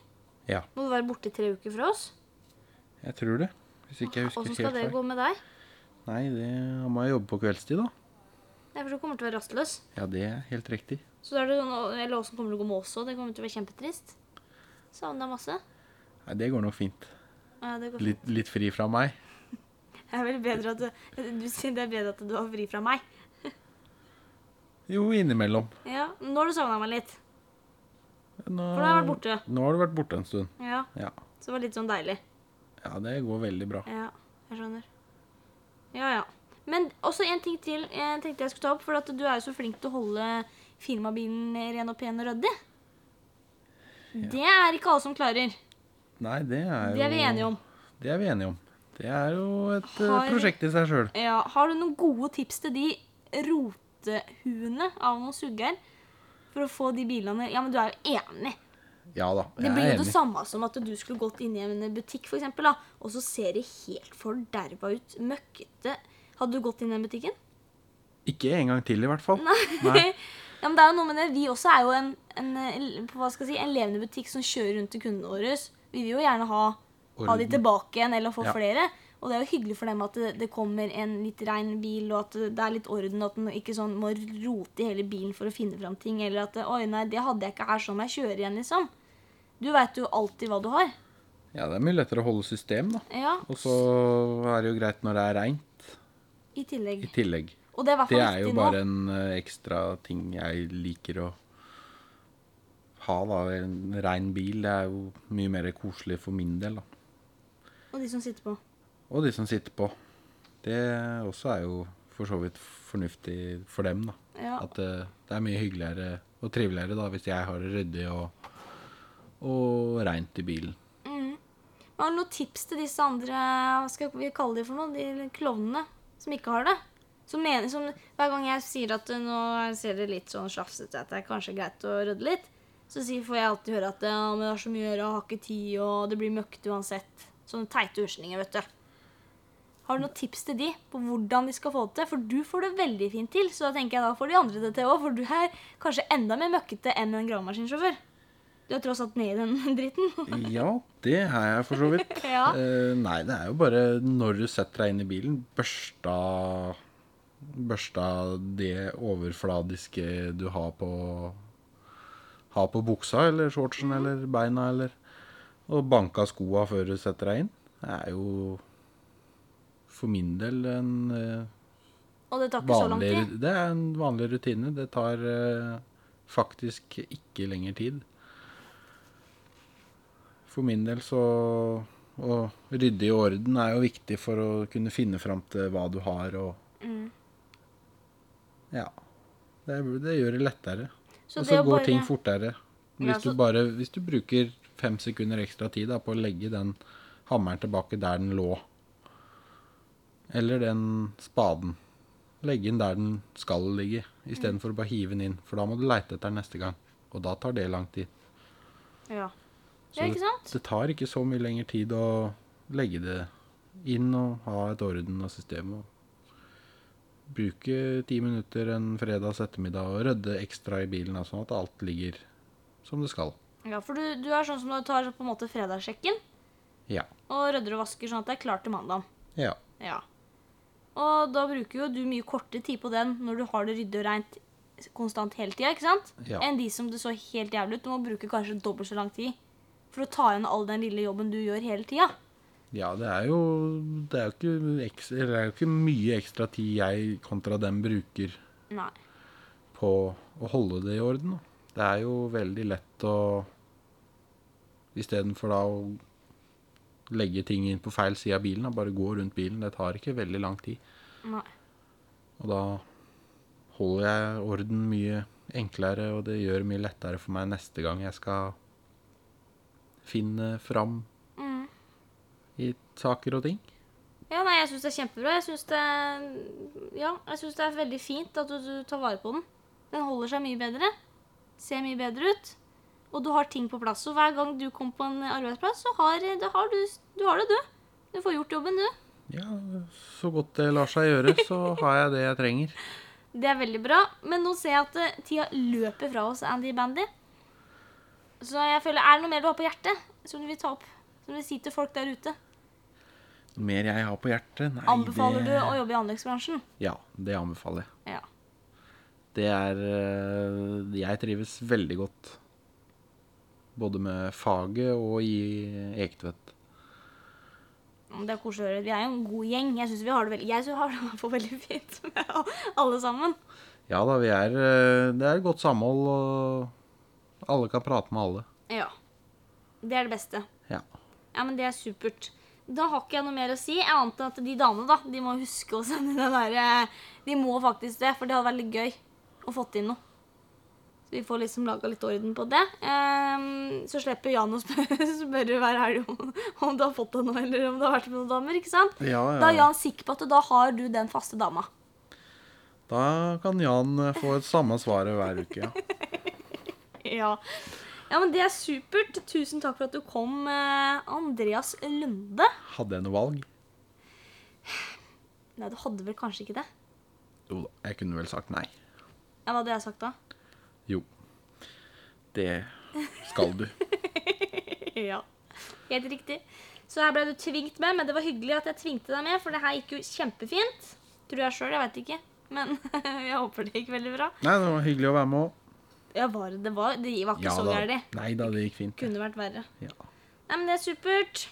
B: Ja,
A: Må du være borte i tre uker fra oss?
B: jeg tror det. Hvis ikke jeg husker
A: Åssen
B: helt
A: skal det
B: feil.
A: gå med deg?
B: Nei, det da må jeg jobbe på kveldstid, da.
A: Jeg forstår du kommer til å være rastløs.
B: Ja, det er helt riktig.
A: Så da er det sånn, eller åssen kommer det til å gå med oss òg? Det kommer til å være kjempetrist. Savner deg masse.
B: Nei, det går nok fint.
A: Ja, det går fint.
B: Litt, litt fri fra meg.
A: Det er vel bedre at du, du sier det er bedre at du har fri fra meg.
B: Jo, innimellom.
A: Ja, Nå har du savna meg litt.
B: Nå,
A: For nå har jeg vært borte.
B: Nå har du vært borte en stund.
A: Ja,
B: Ja.
A: Så det var litt sånn deilig.
B: ja, det går veldig bra.
A: Ja, jeg skjønner. Ja, ja. Men også en ting til jeg tenkte jeg skulle ta opp. For at du er jo så flink til å holde firmabilen ren og pen og ryddig. Det er ikke alle som klarer.
B: Nei, det er jo
A: Det er vi enige om.
B: Det er vi enige om. Det er jo et eh,
A: Har-
B: prosjekt i seg sjøl.
A: Ja, Har du noen gode tips til de rotehuene av noen sugger? For å få de bilene Ja, men du er jo enig.
B: Ja da,
A: Det
B: jeg
A: blir
B: er
A: jo det
B: enig.
A: samme som at du skulle gått inn i en butikk, for eksempel, da, og så ser det helt forderva ut. Møkkete. Hadde du gått inn i den butikken?
B: Ikke en gang til, i hvert fall. Nei.
A: ja, men det er jo noe med det. Vi også er jo en, en, eh, hva skal jeg si, en levende butikk som kjører rundt til kundene våre. Vi vil jo gjerne ha, ha de
B: Orden.
A: tilbake igjen, eller få
B: Ja.
A: flere. Og det er jo hyggelig for dem at det, det kommer en litt rein bil, og at det er litt orden, og at den ikke sånn må rote i hele bilen for å finne fram ting, eller at Oi, nei, det hadde jeg ikke her, så må jeg kjøre igjen, liksom. Du veit jo alltid hva du har.
B: Ja, det er mye lettere å holde system, da.
A: Ja,
B: Og så er det jo greit når det er reint
A: i tillegg.
B: i tillegg.
A: Og det er i hvert
B: Det
A: fall
B: er jo
A: viktig nå.
B: bare en eh, ekstra ting jeg liker å ha, da. En rein bil det er jo mye mer koselig for min del, da.
A: Og de som sitter på.
B: Og de som sitter på. Det også er jo for så vidt fornuftig for dem, da.
A: Ja.
B: At eh, det er mye hyggeligere og triveligere da, hvis jeg har det ryddig og, og reint i bilen.
A: Har du noen tips til disse andre Hva skal vi kalle de for noe? De klovnene som ikke har det? Som mener, som, hver gang jeg sier at uh, nå ser det litt sånn slafsete ut, at det er kanskje greit å rydde litt, så sier, får jeg alltid høre at ja, men det er så mye å gjøre, jeg har ikke tid, og det blir møkkete uansett. Sånne teite unnskyldninger, vet du. Har du noen tips til de på hvordan de skal få det til? For du får det veldig fint til, så da tenker jeg da får de andre det til òg, for du er kanskje enda mer møkkete enn en gravemaskinsjåfør. Du er tross alt nede i den dritten.
B: Ja, det er jeg for så vidt.
A: Ja.
B: Eh, nei, det er jo bare når du setter deg inn i bilen, børsta Børsta det overfladiske du har på Har på buksa eller shortsen eller beina eller Og banka skoa før du setter deg inn. Det er jo for min del en eh,
A: Og det tar ikke så lang
B: vanlig,
A: tid.
B: Det er en vanlig rutine. Det tar eh, faktisk ikke lenger tid. For min del så Å rydde i orden er jo viktig for å kunne finne fram til hva du har og
A: Mm.
B: Ja. Det, er- det gjør det lettere.
A: Så
B: og
A: det
B: så
A: å
B: går
A: bare-
B: ting fortere. Hvis,
A: Ja, så-
B: du bare, hvis du bruker fem sekunder ekstra tid da, på å legge den hammeren tilbake der den lå, eller den spaden Legge den der den skal ligge,
A: Mm.
B: istedenfor å bare hive den inn. For da må du leite etter den neste gang. Og da tar det lang tid.
A: Ja.
B: Så
A: ja, ikke sant?
B: Det tar ikke så mye lenger tid å legge det inn og ha et orden og system. Og bruke ti minutter en fredags ettermiddag og rydde ekstra i bilen, da, sånn at alt ligger som det skal.
A: Ja, for du, du er sånn som du tar på en måte fredagssjekken
B: Ja.
A: og rydder og vasker sånn at det er klart til mandagen.
B: Ja.
A: Ja. Og da bruker jo du mye kortere tid på den når du har det ryddig og rent konstant hele tida, ikke sant?
B: Ja.
A: Enn de som det så helt jævlig ut. Du må bruke kanskje dobbelt så lang tid for å ta igjen all den lille jobben du gjør hele tida.
B: Ja, det er jo Det er jo ikke, eks- eller det er jo ikke mye ekstra tid jeg kontra dem bruker
A: Nei.
B: på å holde det i orden. Da. Det er jo veldig lett å Istedenfor da å legge ting inn på feil side av bilen, da, bare gå rundt bilen. Det tar ikke veldig lang tid.
A: Nei.
B: Og da holder jeg orden mye enklere, og det gjør mye lettere for meg neste gang jeg skal finne fram
A: Mm.
B: i saker og ting.
A: Ja, nei, jeg syns det er kjempebra. Jeg syns det, ja, jeg synes det er veldig fint at du, du tar vare på den. Den holder seg mye bedre. Ser mye bedre ut. Og du har ting på plass. Og hver gang du kommer på en arbeidsplass, så har, da har du, du har det, du. Du får gjort jobben, du.
B: Ja, så godt det lar seg gjøre, så har jeg det jeg trenger.
A: Det er veldig bra. Men nå ser jeg at eh, tida løper fra oss, Andy Bandy. Så jeg føler, er det noe mer du har på hjertet som du vil ta opp? Som du vil si til folk der ute?
B: Noe mer jeg har på hjertet? Nei,
A: Anbefaler du
B: det
A: å jobbe i anleggsbransjen?
B: Ja, det anbefaler jeg.
A: Ja.
B: Det er eh, Jeg trives veldig godt. Både med faget og i Ektvedt.
A: Men Det er koselig å høre. Vi er jo en god gjeng. Jeg syns vi har det veldig, jeg synes vi har det på veldig fint med alle sammen.
B: Ja da, vi er eh, Det er et godt samhold, og alle kan prate med alle.
A: Ja. Det er det beste.
B: Ja.
A: Ja, men det er supert. Da har ikke jeg noe mer å si. Jeg antar at de damene da, de må huske å sende den derre De må faktisk det, for det hadde vært litt gøy å fått inn noe. Så vi får liksom laga litt orden på det. Ehm, så slipper Jan å spørre, spørre hver helg om, om du har fått deg noe, eller om det har vært med noen damer. ikke sant?
B: Ja, ja.
A: Da er Jan sikker på at da har du den faste dama.
B: Da kan Jan eh, få et samme svaret hver uke. Ja.
A: Ja. ja, men det er supert. Tusen takk for at du kom, eh, Andreas Lunde.
B: Hadde jeg noe valg?
A: Nei, du hadde vel kanskje ikke det?
B: Jo da, jeg kunne vel sagt nei.
A: Ja, Hva hadde jeg sagt da?
B: Jo. Det skal du.
A: Ja, helt riktig. Så her ble du tvingt med, men det var hyggelig at jeg tvingte deg med, for det her gikk jo kjempefint. Tror jeg sjøl, jeg veit ikke. Men jeg håper det gikk veldig bra.
B: Nei, det var hyggelig å være med òg.
A: Ja, var det, det var, det var ikke så
B: da.
A: gærent.
B: Nei da, det gikk fint.
A: Kunne vært verre.
B: Ja.
A: Nei, men det er supert.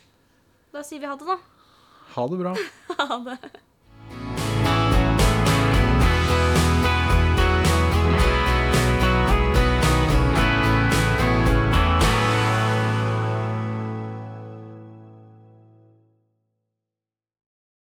A: Da sier vi ha det, da.
B: Ha det bra.
A: Ha det.